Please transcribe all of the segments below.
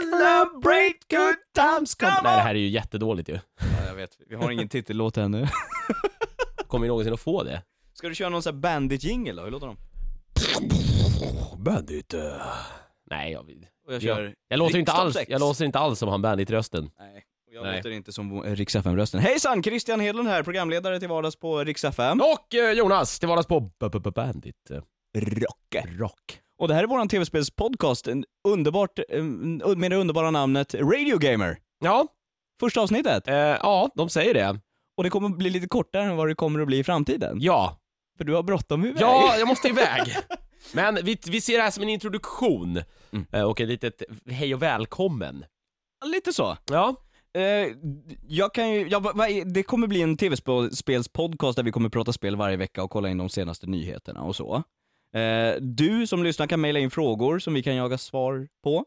Celebrate good times come Nej, det här är ju jättedåligt ju. Ja, jag vet. Vi har ingen titellåt ännu. Kommer vi någonsin att få det? Ska du köra någon sån här bandit-jingle då? Hur låter de? Bandit. Nej, jag, Och jag Ja. kör... jag, låter inte alls, Riksdagssex. jag låter inte alls som han Bandit-rösten. Nej. Och jag Nej. låter inte som Rix FM-rösten. Hejsan! Christian Hedlund här, programledare till vardags på Rix FM. Och eh, Jonas, till vardags på B- B- B- Bandit. eh, Rock. Rock. Och det här är våran tv-spelspodcast, en underbart, en- med det underbara namnet Radio Gamer. Ja, Första avsnittet. eh, ja, de säger det. Och det kommer bli lite kortare än vad det kommer att bli i framtiden. Ja, För du har bråttom iväg. ja jag måste iväg. Men vi, vi ser det här som en introduktion Mm. eh, och ett litet hej och välkommen. Lite så. Ja, Eh, jag kan ju, ja, va, va, är- det kommer bli en tv-spelspodcast där vi kommer prata spel varje vecka och kolla in de senaste nyheterna och så. Eh, du som lyssnar kan mejla in frågor som vi kan jaga svar på.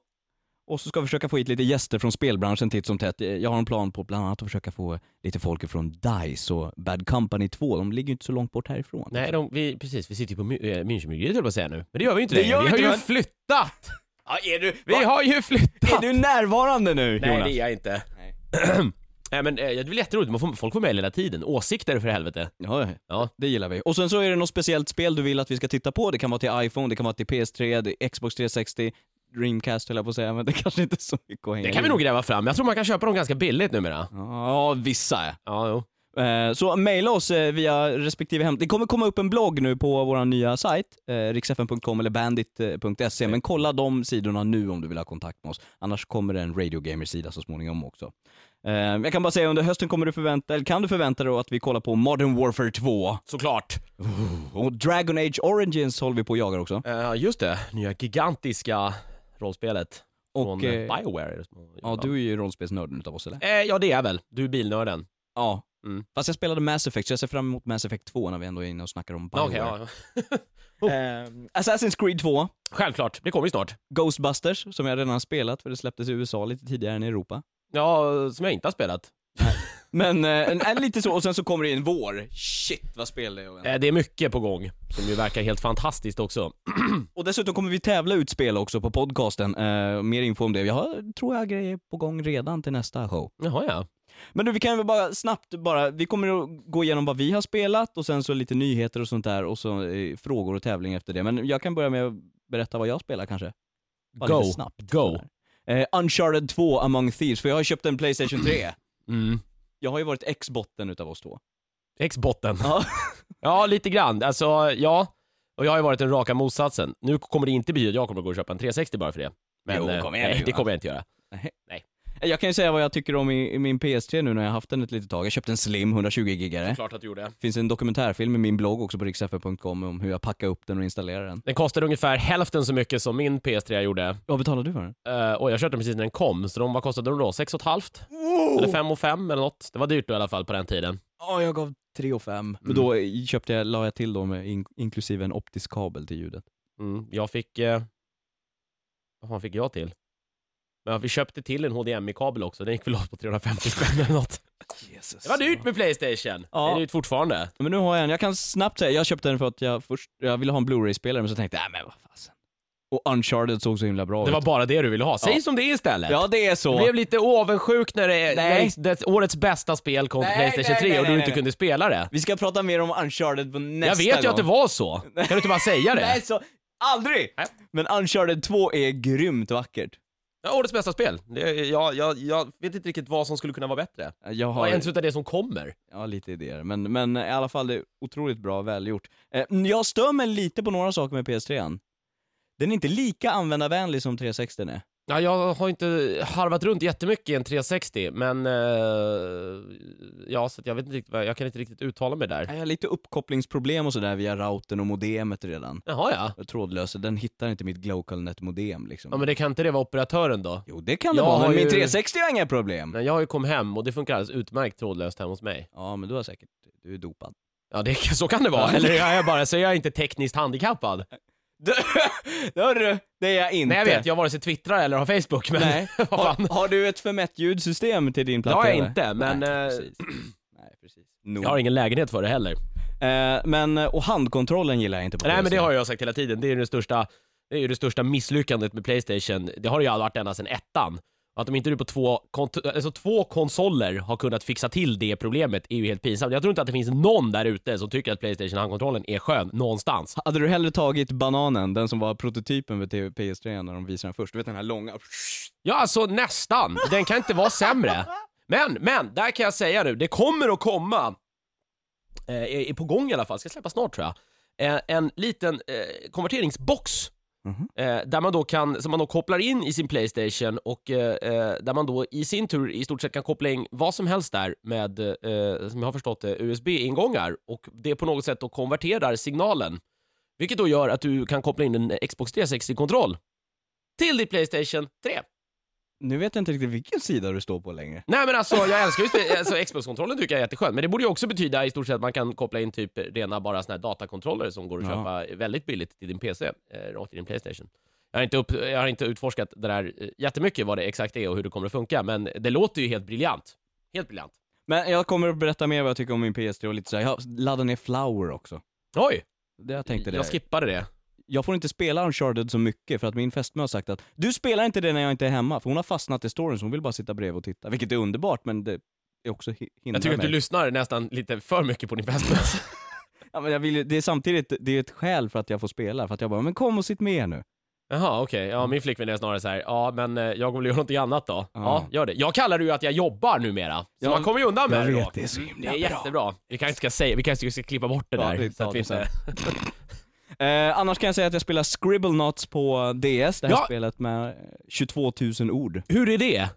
Och så ska vi försöka få hit lite gäster från spelbranschen titt som tätt. Eh, Jag har en plan på bland annat att försöka få lite folk från DICE och Bad Company 2. De ligger ju inte så långt bort härifrån. nej, de, vi, precis, vi sitter ju på My- eh, Münchenbryggeriet höll jag på att säga nu. Men det gör vi ju inte Det längre. gör vi vi har inte, ju men- flyttat! Ja, är du, Vi har ju flyttat! är du närvarande nu Nej, Jonas? det är jag inte. Nej. Nej men eh, det är väl jätteroligt, Man får, folk får mejl hela tiden. Åsikter för helvete. Ja, Ja. det gillar vi. Och sen så är det något speciellt spel du vill att vi ska titta på. Det kan vara till iPhone, det kan vara till PS3, det- Xbox 360, Dreamcast höll jag på att säga, men det kanske inte är så mycket att hänga Det kan vi i. nog gräva fram. Jag tror man kan köpa dem ganska billigt numera. Ja, vissa. Ja, jo. Eh, Så mejla oss eh, via respektive hem. Det kommer komma upp en blogg nu på vår nya sajt, eh, riksfn.com eller bandit.se, men kolla de sidorna nu om du vill ha kontakt med oss. Annars kommer det en Radio Gamer-sida så småningom också. Eh, Jag kan bara säga under hösten kommer du förvänta, eller kan du förvänta dig att vi kollar på Modern Warfare 2. Såklart. Och Dragon Age Origins håller vi på och jagar också. Eh, just det, nya gigantiska rollspelet. Och, från eh, eh, Bioware. Ja, du är ju rollspelsnörden utav oss eller? Eh, ja, det är jag väl. Du är bilnörden. Ja. Mm. Fast jag spelade Mass Effect, så jag ser fram emot Mass Effect 2 när vi ändå är inne och snackar om Bioware. Okej, ja. Ehm, Assassin's Creed 2, Självklart, det kommer ju snart. Ghostbusters, som jag redan har spelat för det släpptes i USA lite tidigare än i Europa. Ja, som jag inte har spelat. Men eh, en, en, lite så, och sen så kommer det in vår. Shit vad spel det är att vänta. Eh, det är mycket på gång, som ju verkar helt fantastiskt också. Och dessutom kommer vi tävla ut spel också på podcasten. Eh, mer info om det. Jag har, tror jag har grejer på gång redan till nästa show. Jaha, ja. Men du, vi kan väl bara snabbt bara, vi kommer att gå igenom vad vi har spelat och sen så lite nyheter och sånt där och så eh, frågor och tävling efter det. Men jag kan börja med att berätta vad jag spelar kanske. Bara Go. lite snabbt. Go. sådär. Eh, Uncharted 2 among thieves, för jag har köpt en Playstation 3. Mm. Jag har ju varit ex-botten utav oss två. Ex-botten. Ja. Ja, lite grann. Alltså, ja. Och jag har ju varit den raka motsatsen. Nu kommer det inte bli att jag kommer gå och köpa en 360 bara för det. Men Jo, eh, kom igen nu, nej, det Jonas. kommer jag inte göra. Eh, Jag kan ju säga vad jag tycker om i, i min PS3 nu när jag har haft den ett litet tag. Jag köpte en Slim 120-gigare. Klart att du gjorde. Finns en dokumentärfilm i min blogg också på riksfn.com om hur jag packade upp den och installerade den. Den kostade ungefär hälften så mycket som min PS3 gjorde. Vad betalade du för den? Eh, och jag köpte den precis när den kom, så de, vad kostade de då? 6,5? Oh. Eller 5 och 5 eller något. Det var dyrt då i alla fall på den tiden. Ja, jag gav 3 och 5. Men Mm. då köpte jag, la jag till dem in, inklusive en optisk kabel till ljudet. Mm. Jag fick... Eh, vad fan fick jag till? Men vi köpte till en HDMI-kabel också, den gick väl loss på 350 spänn eller något. Jesus. Det var dyrt med Playstation! Ja. Det är dyrt fortfarande. Men nu har jag en. Jag kan snabbt säga, jag köpte den för att jag först, jag ville ha en Blu-ray-spelare men så tänkte jag, "Äh, men vad fasen. Och Uncharted såg så himla bra Det ut. var bara det du ville ha. Säg Ja. som det är istället! Ja, det är så. Du blev lite avundsjuk när, det, Nej. när det, årets bästa spel kom till Nej, Playstation nej, 3 och nej, du nej, inte nej. kunde spela det. Vi ska prata mer om Uncharted på nästa Jag vet ju gång. att det var så. Kan du inte bara säga det? Nej, så, aldrig! Nej. Men Uncharted 2 är grymt vackert. Ja, årets bästa spel. Det, jag, jag, jag vet inte riktigt vad som skulle kunna vara bättre. Jag Vad har är ens utav det som kommer? ja, lite idéer, men, men i alla fall det är otroligt bra välgjort. Eh, jag stör mig lite på några saker med PS3. an. Den är inte lika användarvänlig som 360 är. Ja, jag har inte harvat runt jättemycket i en 360, men... eh, ja, så att jag vet inte riktigt, vad- jag kan inte riktigt uttala mig där. Jag har lite uppkopplingsproblem och sådär via routern och modemet redan. Jaha, ja. Trådlösa, den hittar inte mitt GlocalNet-modem liksom. Ja, men det kan inte det vara operatören då? Jo, det kan det Jag vara, men har min ju- 360 har inga problem. Men jag har ju kommit hem och det funkar alldeles utmärkt trådlöst hemma hos mig. Ja, men du har säkert, du är dopad. Ja, det, så kan det vara. Eller jag är bara, så jag är inte tekniskt handikappad. Du, Hörru, det är jag inte. Nej, jag vet, jag vare sig twittrar eller har Facebook, men... Nej. vad fan. Har, har du ett förmätt ljudsystem till din Det platta? har jag eller? inte, men... Nej, eh, precis. Nej, precis. Nog. jag har ingen lägenhet för det heller. Eh, men, eh, och handkontrollen gillar jag inte på Nej men det PS3. har jag sagt hela tiden, det är ju det största, det är ju det största misslyckandet med Playstation. Det har det ju varit ända sedan ettan. Att de inte nu på två, kont- alltså två konsoler har kunnat fixa till det problemet är ju helt pinsamt. Jag tror inte att det finns någon där ute som tycker att Playstation handkontrollen är skön någonstans. Hade du hellre tagit bananen, den som var prototypen för TV PS3 när de visade den först? Du vet den här långa? Ja, alltså nästan. Den kan inte vara sämre. Men, men, där kan jag säga nu, det kommer att komma, eh, är är på gång i alla fall, ska släppas snart tror jag, eh, en liten eh, konverteringsbox. Mhm. Eh, där man då kan, som man då kopplar in i sin Playstation och eh, eh, där man då i sin tur i stort sett kan koppla in vad som helst där med, eh, som jag har förstått det, USB-ingångar och det på något sätt då konverterar signalen. Vilket då gör att du kan koppla in en Xbox 360-kontroll till ditt Playstation 3. Nu vet jag inte riktigt vilken sida du står på längre. Nej men alltså jag älskar just det, alltså, Xbox-kontrollen tycker jag är jätteskön, men det borde ju också betyda i stort sett att man kan koppla in typ rena bara såna här datakontroller som går att Ja. köpa väldigt billigt till din PC, eh, rakt i din Playstation. Jag har, inte upp, jag har inte utforskat det där eh, jättemycket vad det exakt är och hur det kommer att funka, men det låter ju helt briljant. Helt briljant. Men jag kommer att berätta mer vad jag tycker om min PS3 och lite så här. jag laddar ner Flower också. Oj! Det jag tänkte det. jag skippade det. jag får inte spela Uncharted så mycket för att min fästmö har sagt att du spelar inte det när jag inte är hemma, för hon har fastnat i storyn så hon vill bara sitta bredvid och titta. Vilket är underbart men det är också hi- hindrar Jag tycker att mig. du lyssnar nästan lite för mycket på din fästmö. ja, men jag vill, ju- det är samtidigt, det är ett skäl för att jag får spela, för att jag bara, men kom och sitt med nu. Jaha, okej. Ja, min flickvän är snarare så här, ja men eh, jag kommer väl göra någonting annat då. Ja, Mm. Ja. gör det. Jag kallar det ju att jag jobbar numera, så Ja, man kommer ju undan med jag det vet, då. det är så Mm, himla Det är bra. jättebra. Vi kanske ska säga, vi kanske ska klippa bort det Ja, där. vi så tar att vi det inte... Eh, annars kan jag säga att jag spelar Scribblenauts på DS, det här Ja. spelet med eh, 22 000 ord. Hur är det?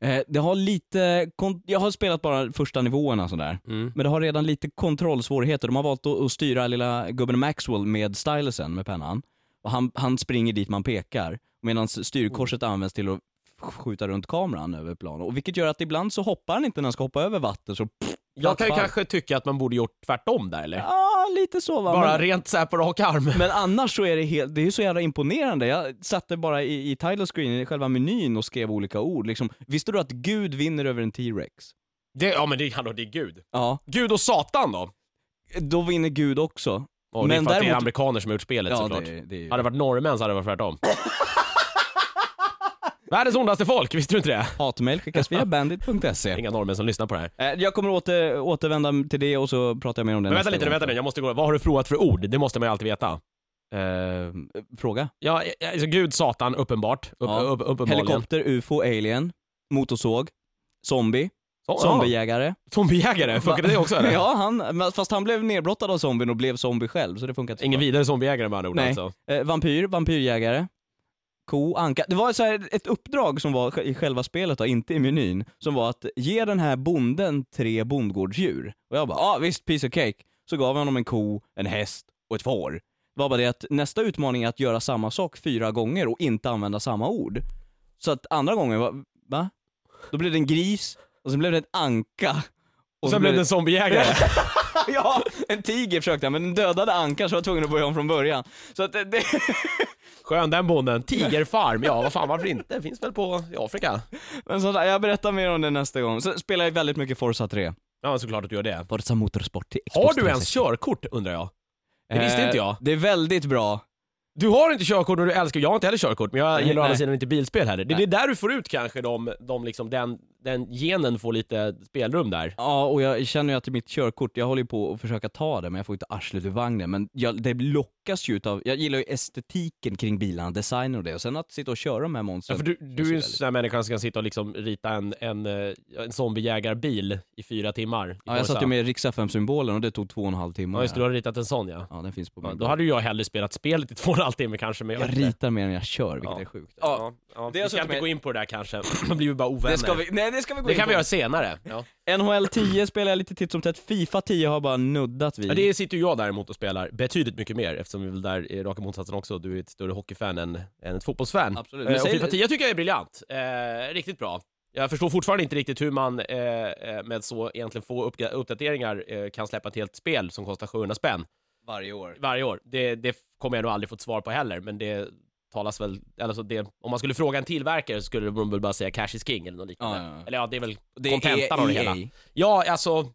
Eh, det har lite, kon- jag har spelat bara första nivåerna sådär. Mm. Men det har redan lite kontrollsvårigheter. De har valt att, att styra lilla gubben Maxwell med stylusen, med pennan. Och han, han springer dit man pekar, medan styrkorset används till att skjuta runt kameran över planen. Och vilket gör att ibland så hoppar han inte när han ska hoppa över vatten, så Jag kan ju Plattfall. kanske tycka att man borde gjort tvärtom där eller? ja, lite så va. Bara men, rent så här på rak arm. men annars så är det helt, det är så jävla imponerande. Jag satte bara i, i title screen, i själva menyn och skrev olika ord. Liksom, visste du att Gud vinner över en T-Rex? Det, ja men det, hallå, det är Gud. Ja, Gud och Satan då? då vinner Gud också. Och det är Men för att det är däremot- amerikaner som har gjort spelet såklart. det, det är ju... Hade det varit norrmän så hade det varit tvärtom. Världens ondaste folk, visste du inte det? Hatmejl skickas via bandit.se. Inga norrmän som lyssnar på det här. Eh, Jag kommer åter, återvända till det och så pratar jag mer om det Men nästa vänta lite nu, gång. vänta nu, jag måste gå. Vad har du provat för ord? Det måste man ju alltid veta. Eh, fråga. Ja, alltså Gud, Satan, uppenbart. Upp, Ja. upp, uppenbarligen. Helikopter, ufo, alien, motorsåg, zombie, Så- zombiejägare. ja. Zombiejägare, funkade det också eller? ja, han, men fast han blev nedbrottad av zombien och blev zombie själv så det funkar inte. så Ingen bra. vidare zombiejägare med andra ord Nej. alltså. Eh, vampyr, vampyrjägare, ko, anka. Det var så här ett uppdrag som var i själva spelet då, inte i menyn, som var att ge den här bonden tre bondgårdsdjur. Och jag bara, ja ah, visst, piece of cake. Så gav jag honom en ko, en häst och ett får. Det var bara det att nästa utmaning är att göra samma sak fyra gånger och inte använda samma ord. Så att andra gången var, va? Då blev det en gris, och sen blev det en anka. Och så sen blev det en zombiejägare. Ja, en tiger försökte jag, men den dödade ankan så jag var tvungen att börja om från början. Så att det, det... Skön den bonden. Tigerfarm, ja vad fan varför inte? Det finns väl på i Afrika? Men sådär, jag berättar mer om det nästa gång. Så spelar jag väldigt mycket Forza 3. Ja, såklart att du gör det. Forza Motorsport till Har du ens körkort undrar jag? Det visste inte jag. Eh, Det är väldigt bra. Du har inte körkort och du älskar, jag har inte heller körkort, men jag Nej, gillar å andra nej. sidan inte bilspel heller. Det är Nej. där du får ut kanske de, de liksom, den, den genen får lite spelrum där. Ja, och jag känner ju att mitt körkort, jag håller ju på att försöka ta det men jag får inte arslet ur vagnen. Men jag, det lockas ju utav, jag gillar ju estetiken kring bilarna, design och det. Och sen att sitta och köra de här Ja, monstren. för du, du är ju en väldigt- sån här människa som kan sitta och liksom rita en, en, eh, en zombiejägarbil i fyra timmar. i ja, jag Forza. satt ju med riks symbolen och det tog två och en halv timme. Ja, just det, du har ritat en sån ja. ja den finns på ja min då blogg. hade ju jag hellre spelat spelet i två och en halv timme kanske, men jag, vet Jag inte. ritar mer än jag kör, vilket Ja. är sjukt. Ja, ja. Det är vi alltså ska inte med- gå in på det där kanske, då blir vi bara ovänner. Det ska vi, nej det ska vi gå Det in kan på. vi göra senare. Ja. NHL 10 spelar jag lite titt som tätt, Fifa 10 har jag bara nuddat vid. det sitter ju jag däremot och spelar betydligt mycket mer eftersom vi väl där är raka motsatsen också. Du är ett större hockeyfan än, än ett fotbollsfan. Absolut. Eh, Men och säg- Fifa 10 tycker jag är briljant. Eh, riktigt bra. Jag förstår fortfarande inte riktigt hur man eh, eh, med så egentligen få uppga- uppdateringar eh, kan släppa ett helt spel som kostar 700 spänn Varje år. varje år. Det, det kommer jag nog aldrig få ett svar på heller, men det talas väl, eller så det, om man skulle fråga en tillverkare så skulle de väl bara säga cash is king eller något liknande. Ja, ja, ja. Eller ja, det är väl Det är E kontentan av det hela. EA. Ja, alltså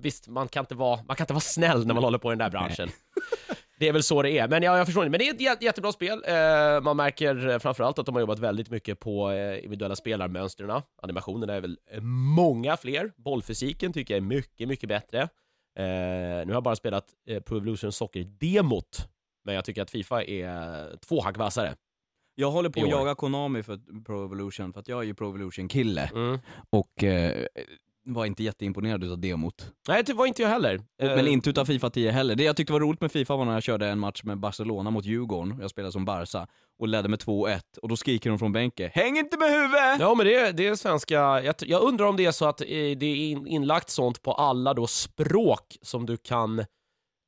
visst, man kan inte vara, man kan inte vara snäll när man håller på i den där branschen. det är väl så det är. Men ja, jag förstår inte. Men det är ett jä- jättebra spel. Eh, man märker eh, framförallt att de har jobbat väldigt mycket på eh, individuella spelarmönstren. Animationerna är väl eh, många fler. Bollfysiken tycker jag är mycket, mycket bättre. Eh, nu har jag bara spelat eh, Pro Evolution Soccer-demot, men jag tycker att Fifa är eh, två hack vassare. Jag håller på I att år. jaga Konami för att- Pro Evolution, för att jag är ju Pro Evolution-kille Mm. och eh, var inte jätteimponerad utav demot. Nej, det var inte jag heller. Eh, Men inte utav Fifa 10 heller. Det jag tyckte var roligt med Fifa var när jag körde en match med Barcelona mot Djurgården, jag spelade som Barca, och ledde med 2-1. Och då skriker de från bänken “Häng inte med huvudet!” Ja, men det, är- det är svenska. Jag, t- jag undrar om det är så att eh, det är in, inlagt sånt på alla då språk som du kan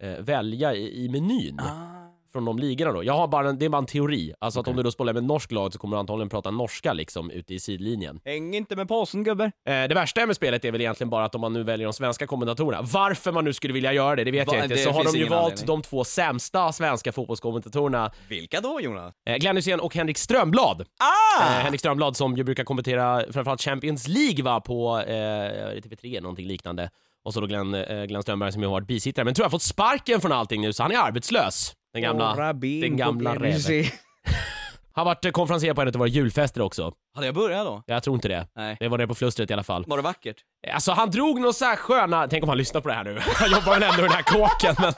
eh, välja i, i menyn från de ligorna då. Jag har bara en, det är bara en teori. Alltså att om Okej. du då spelar med en norsk lag så kommer du antagligen prata norska liksom ute i sidlinjen. “Häng inte med påsen gubbar!” Eh, det värsta med spelet är väl egentligen bara att om man nu väljer de svenska kommentatorerna, varför man nu skulle vilja göra det, det vet Va- jag inte, det så har finns de ju ingen valt anledning. de två sämsta svenska fotbollskommentatorerna, Vilka då Jonas? eh, Glenn Hysén och Henrik Strömblad. Ah! Eh, Henrik Strömblad som ju brukar kommentera framförallt Champions League va, på eh, TV3 eller någonting liknande. Och så då Glenn, eh, Glenn Strömberg som ju har varit bisittare, men tror jag har fått sparken från allting nu så han är arbetslös. Den gamla. den gamla räven. Han har varit eh, konferencier på en av våra julfester också. Hade jag börjat då? Jag tror inte det. Nej. Det var det på flustret i alla fall. Var det vackert? Alltså han drog någon så här sköna, tänk om han lyssnar på det här nu, han jobbar väl ändå i den här kåken men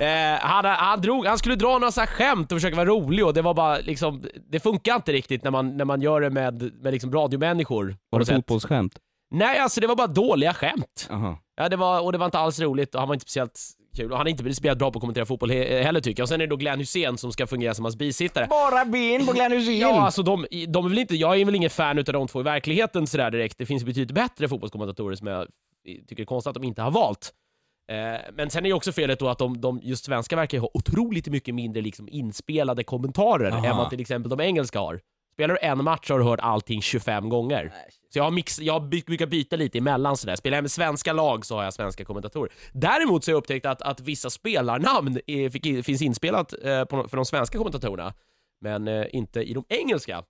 Eh, han, han, drog, han skulle dra några så här skämt och försöka vara rolig och det var bara liksom, det funkar inte riktigt när man, när man gör det med, med liksom radiomänniskor. på något sätt. fotbollsskämt? Nej alltså det var bara dåliga skämt. Aha. Ja, det var, och det var inte alls roligt och han var inte speciellt kul och han är inte speciellt bra på att kommentera fotboll he- heller tycker jag. Och sen är det då Glenn Hussein som ska fungera som hans bisittare. Bara ben på Glenn Hysén! Ja, alltså de, de är väl inte, jag är väl ingen fan utav de två i verkligheten sådär direkt. Det finns betydligt bättre fotbollskommentatorer som jag tycker är konstigt att de inte har valt. Eh, men sen är ju också felet då att de, de just svenska verkar ju ha otroligt mycket mindre liksom inspelade kommentarer Aha. än vad till exempel de engelska har. Spelar du en match har du hört allting 25 gånger. Så jag, har mix, jag by, brukar byta lite emellan sådär. Spelar jag med svenska lag så har jag svenska kommentatorer. Däremot så har jag upptäckt att, att vissa spelarnamn är, fick, finns inspelat eh, på, för de svenska kommentatorerna, men eh, inte i de engelska.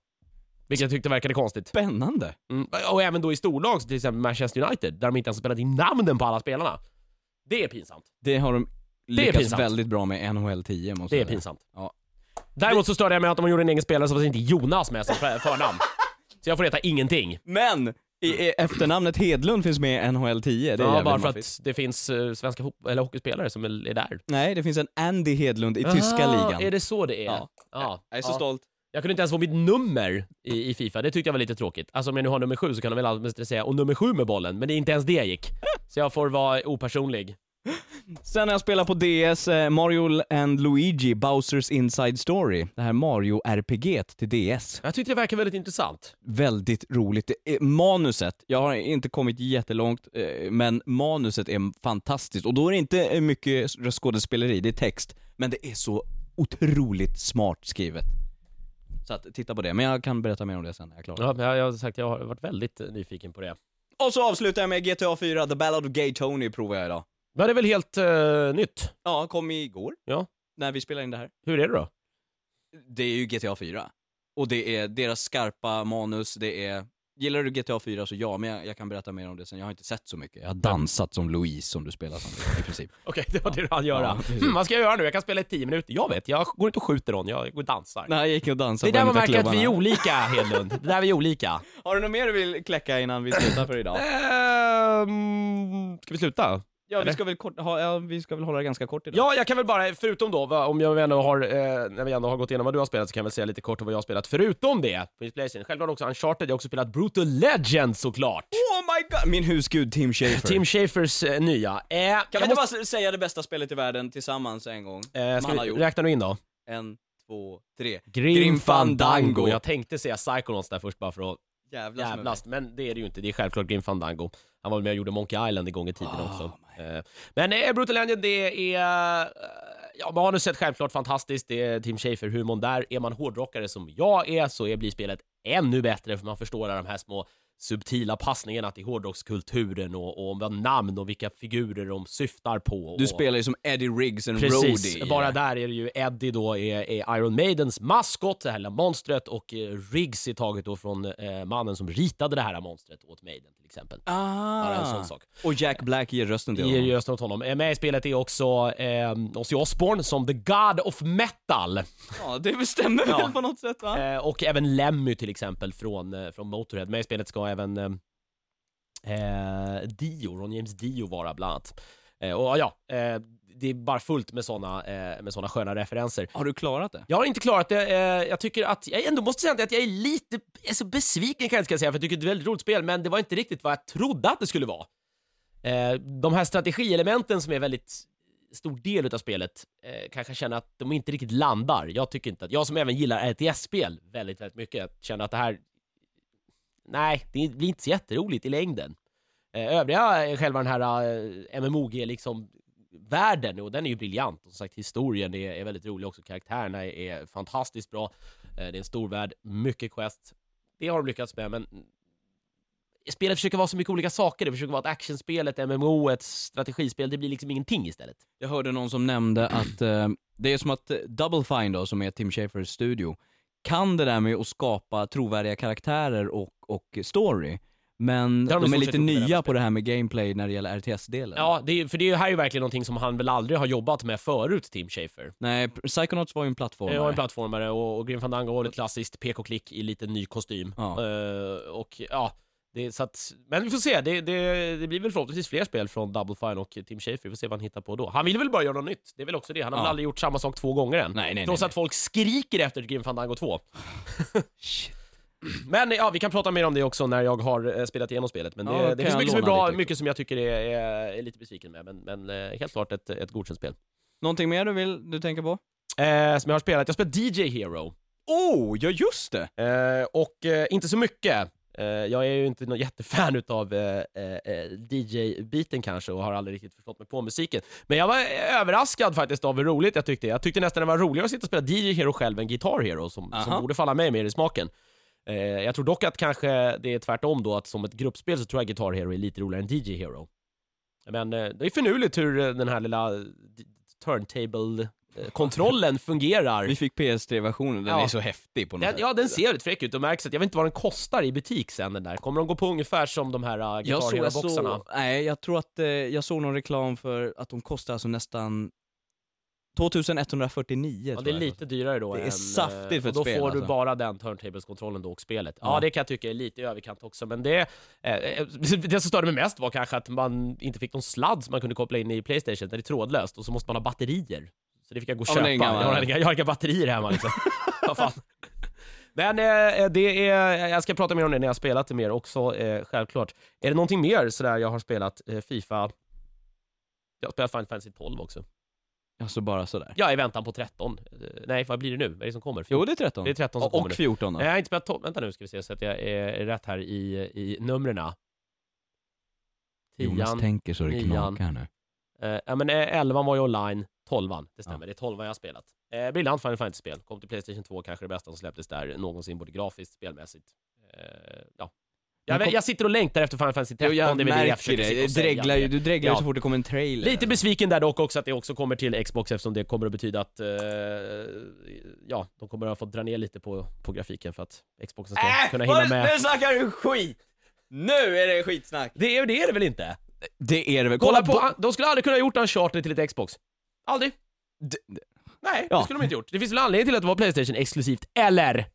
Vilket jag tyckte verkade konstigt. Spännande. Mm. Och även då i storlag, som till exempel Manchester United, där de inte ens har spelat in namnen på alla spelarna. Det är pinsamt. Det har de är lyckats pinsamt. väldigt bra med i NHL 10 måste Det är jag säga. pinsamt. Ja. Däremot så störde jag mig att de gjorde en egen spelare som var inte Jonas med som för- förnamn. Så jag får heta ingenting. Men! I, i, efternamnet Hedlund finns med i NHL 10, det är Ja, jävligt bara för maffigt. att det finns eh, svenska fot- eller hockeyspelare som är är där. Nej, det finns en Andy Hedlund i tyska Aha, ligan. Är det så det är? Ja. Ja. Jag är så ja. stolt. Jag kunde inte ens få mitt nummer i, i Fifa, det tyckte jag var lite tråkigt. Alltså om jag nu har nummer sju så kan de väl alltid säga och nummer sju med bollen, men det är inte ens det jag gick. Så jag får vara opersonlig. Sen när jag spelar på DS, eh, Mario and Luigi, Bowsers Inside Story. Det här Mario-RPG till DS. Jag tyckte det verkar väldigt intressant. Väldigt roligt. Det är- Manuset, jag har inte kommit jättelångt, eh, men manuset är fantastiskt. Och då är det inte eh, mycket skådespeleri, det är text. Men det är så otroligt smart skrivet. Så att, titta på det. Men jag kan berätta mer om det sen när jag är klar. Ja, men jag, jag har sagt, jag har varit väldigt eh, nyfiken på det. Och så avslutar jag med GTA 4, The Ballad of Gay Tony provar jag idag. Men det är väl helt eh, nytt? Ja, kom igår. Ja. När vi spelade in det här. Hur är det då? Det är ju GTA 4. Och det är deras skarpa manus, det är... Gillar du GTA 4 så ja, men jag, jag kan berätta mer om det sen. Jag har inte sett så mycket. Jag har dansat som Louise som du spelar som i princip. Okej, det var det du hann göra. Ja, precis. hmm, vad ska jag göra nu? Jag kan spela i 10 minuter. Jag vet, jag går inte och skjuter någon, jag går och dansar. Nej, jag gick och Det dansade är där man märker att vi är olika, Hedlund. Det där vi är olika. Har du något mer du vill kläcka innan vi slutar för idag? Ehm, ska vi sluta? Ja, vi Eller? ska väl, kort, ha, ja, vi ska väl hålla det ganska kort idag. Ja, jag kan väl bara, förutom då, va, om jag ändå har, eh, när vi ändå har gått igenom vad du har spelat så kan jag väl säga lite kort om vad jag har spelat förutom det på Playstation. Självklart också Uncharted, jag har också spelat Brutal Legend såklart. Oh my god! Min husgud Tim Schafer. Tim Schafers eh, nya. Eh, jag kan vi måste- inte bara säga det bästa spelet i världen tillsammans en gång? eh, man ska har vi gjort? räkna nu in då? En, två, tre. Grim, Fandango. Jag tänkte säga Psychonauts där först bara för att Jävlar som är jävlas, men det är det ju inte. Det är självklart Grim Fandango. Han var med och gjorde Monkey Island en gång i tiden Oh också. my. Eh, Men eh, Brutal Legend, det är... eh, Ja, manuset självklart fantastiskt. Det är Tim Schafer, humorn där. Är man hårdrockare som jag är så är, blir spelet ännu bättre för man förstår alla de här små subtila passningarna till hårdrockskulturen och, och vad namn och vilka figurer de syftar på. Du och, spelar ju som Eddie Riggs, en Precis, roadie. bara där är det ju Eddie då är, är Iron Maidens maskot, det här lilla monstret och eh, Riggs är taget då från eh, mannen som ritade det här monstret åt Maiden till exempel. Bara en sån Ah. sak. Och Jack Black ger rösten till Ger honom. ju rösten åt honom. Eh, Med i spelet är också eh, Ozzy Osbourne som The God of Metal. Ja, det stämmer Ja. väl på något sätt va? Eh, och även Lemmy till exempel från, eh, från Motorhead. Med i spelet ska även eh, eh, Dio, Ron James Dio vara bland annat. Eh, och ja, eh, det är bara fullt med såna, eh, med såna sköna referenser. Har du klarat det? Jag har inte klarat det. Eh, Jag tycker att, jag ändå måste säga att jag är lite alltså, besviken kan jag inte säga, för jag tycker det är ett väldigt roligt spel, men det var inte riktigt vad jag trodde att det skulle vara. Eh, De här strategielementen som är väldigt stor del utav spelet, eh, kanske känner att de inte riktigt landar. Jag tycker inte att, jag som även gillar RTS-spel väldigt, väldigt mycket, känner att det här, nej, det blir inte så jätteroligt i längden. Eh, Övriga, eh, själva den här eh, MMOG liksom, världen, och den är ju briljant. Och som sagt, historien är, är väldigt rolig också. Karaktärerna är, är fantastiskt bra. Eh, Det är en stor värld, mycket quest. Det har de lyckats med, men spelet försöker vara så mycket olika saker. Det försöker vara ett actionspel, ett MMO, ett strategispel. Det blir liksom ingenting istället. Jag hörde någon som nämnde att eh, det är som att eh, Double Fine då, som är Tim Schafers studio, kan det där med att skapa trovärdiga karaktärer och, och story. Men Det har de, de i är stort lite sett gjort med det här nya på det här med gameplay när det gäller RTS-delen. Ja, det är, för det är ju här är ju verkligen någonting som han väl aldrig har jobbat med förut, Tim Schafer. Nej, Psychonauts var ju en plattform. Det var en plattformare och, och Grim Fandango var ett klassiskt PK-klick i lite ny kostym. Ja. Eh, och ja, det, så att, men vi får se. Det, det, det blir väl förhoppningsvis fler spel från Double Fine och Tim Schafer. Vi får se vad han hittar på då. Han vill väl bara göra något nytt? Det är väl också det. Han har Ja. väl aldrig gjort samma sak två gånger än. Nej, nej, nej, Trots nej. att folk skriker efter Grim Fandango 2. Shit. Men ja, vi kan prata mer om det också när jag har eh, spelat igenom spelet. Men det, Ja, då kan det finns jag mycket som är låna bra, lite också. mycket som jag tycker är, är, är lite besviken med. Men, men eh, helt klart ett, ett godkänt spel. Någonting mer du vill du tänker på? Eh, som jag har spelat, jag spelar DJ Hero. Oh, ja just det! Eh, och eh, inte så mycket. Eh, jag är ju inte någon jättefan utav eh, eh, DJ-biten kanske och har aldrig riktigt förstått mig på musiken. Men jag var eh, överraskad faktiskt av hur roligt jag tyckte. Jag tyckte nästan det var roligare att sitta och spela DJ Hero själv än Guitar Hero som, som Aha. borde falla mig mer i smaken. Eh, jag tror dock att kanske det är tvärtom då, att som ett gruppspel så tror jag Guitar Hero är lite roligare än DJ Hero. Men eh, det är finurligt hur eh, den här lilla eh, turntable-kontrollen fungerar. Vi fick PS3-versionen, den Ja. är så häftig på något Den, sätt. ja, den ser väldigt fräck ut och märks att jag vet inte vad den kostar i butik sen den där. Kommer de gå på ungefär som de här uh, Jag, såg, jag, boxarna såg, nej, jag tror att eh, jag såg någon reklam för att de kostar alltså nästan 2149 Ja, tror det är jag. lite dyrare då. Det är än, eh, saftigt för och ett Då spel, får du alltså. bara den turntables-kontrollen då och spelet. Ja, Ja. det kan jag tycka är lite i överkant också, men det... eh, Eh, det som störde mig mest var kanske att man inte fick någon sladd som man kunde koppla in i Playstation, där det är trådlöst, och så måste man ha batterier. Så det fick jag gå och Ja, köpa. men det är Jag inga- har, inga, jag har inga batterier hemma liksom. Vad fan. Men eh, det är, jag ska prata mer om det när jag har spelat det mer också, eh, självklart. Är det någonting mer sådär jag har spelat eh, Fifa? Jag har spelat Final Fantasy 12 också. Alltså bara sådär. Ja, i väntan på 13. Eh, nej, vad blir det nu? Vad är det som kommer? Jo det är 13. Det är 13 som och, kommer och nu. 14 då. Nej, jag har inte spelat 12. Vänta nu ska vi se så att jag är rätt här i, i numren. Jonas Tian. tänker så det nian. knakar nu. Eh, ja, men eh, 11 var ju online, 12 det stämmer. Ja. Det är 12 jag har spelat. Eh, briljant Final Fantasy-spel. Kom till Playstation 2, kanske det bästa som släpptes där någonsin, både grafiskt spelmässigt. Eh, ja. Men jag, kom- jag sitter och längtar efter Final Fantasy 13, Jo, jag det är väl det jag märker försöker det. sitta Du och säga. dreglar ju du dreglar ju Ja. så fort det kommer en trailer. Lite besviken där dock också att det också kommer till Xbox eftersom det kommer att betyda att eh, ja, de kommer att få dra ner lite på, på grafiken för att Xboxen ska Äh, kunna vad- hinna med. Nu snackar du skit! Nu är det skitsnack! Det är, det är det väl inte? Det är det väl? Kolla bo- på, de skulle aldrig kunna ha gjort Uncharted till ett Xbox. Aldrig. D- Nej, det Ja. skulle de inte gjort. Det finns väl anledning till att det var Playstation exklusivt, eller?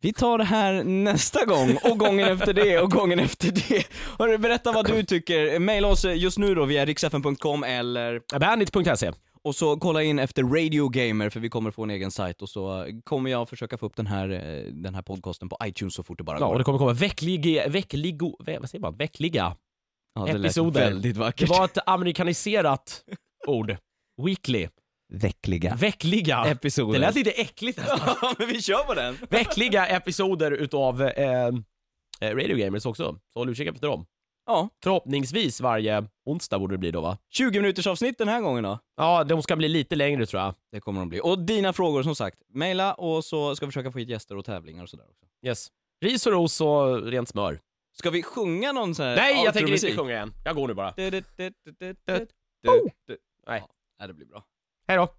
Vi tar det här nästa gång, och gången efter det, och gången efter det. Hörru, berätta vad du tycker. Maila oss just nu då via riksfn.com eller Bandit.se. Och så kolla in efter Radio Gamer för vi kommer få en egen sajt och så eh, kommer jag försöka få upp den här, eh, den här podcasten på iTunes så fort det bara Ja, och går. det kommer komma veckliga, veckligo, vä- vad säger man? Veckliga. Ja, det episoder. lät väldigt Det vackert. var ett amerikaniserat ord. Weekly. Veckliga Veckliga. episoder. Det lät lite äckligt nästan. ja, men vi kör på den! Veckliga episoder utav eh, eh, Radio Gamers också. Så håll utkik efter dem. Ja, Förhoppningsvis varje onsdag borde det bli då va? 20 minuters avsnitt den här gången då. Ja, de ska bli lite längre tror jag. Det kommer de bli. Och dina frågor som sagt, mejla och så ska vi försöka få hit gäster och tävlingar och sådär också. Yes. Ris och ros och rent smör. Ska vi sjunga någon sån här Nej, jag tänker inte outro-musik? sjunga igen. Jag går nu bara. Du, du, du, du, du, du, du. Boom! du. Nej. Ja, det blir bra. Hej då.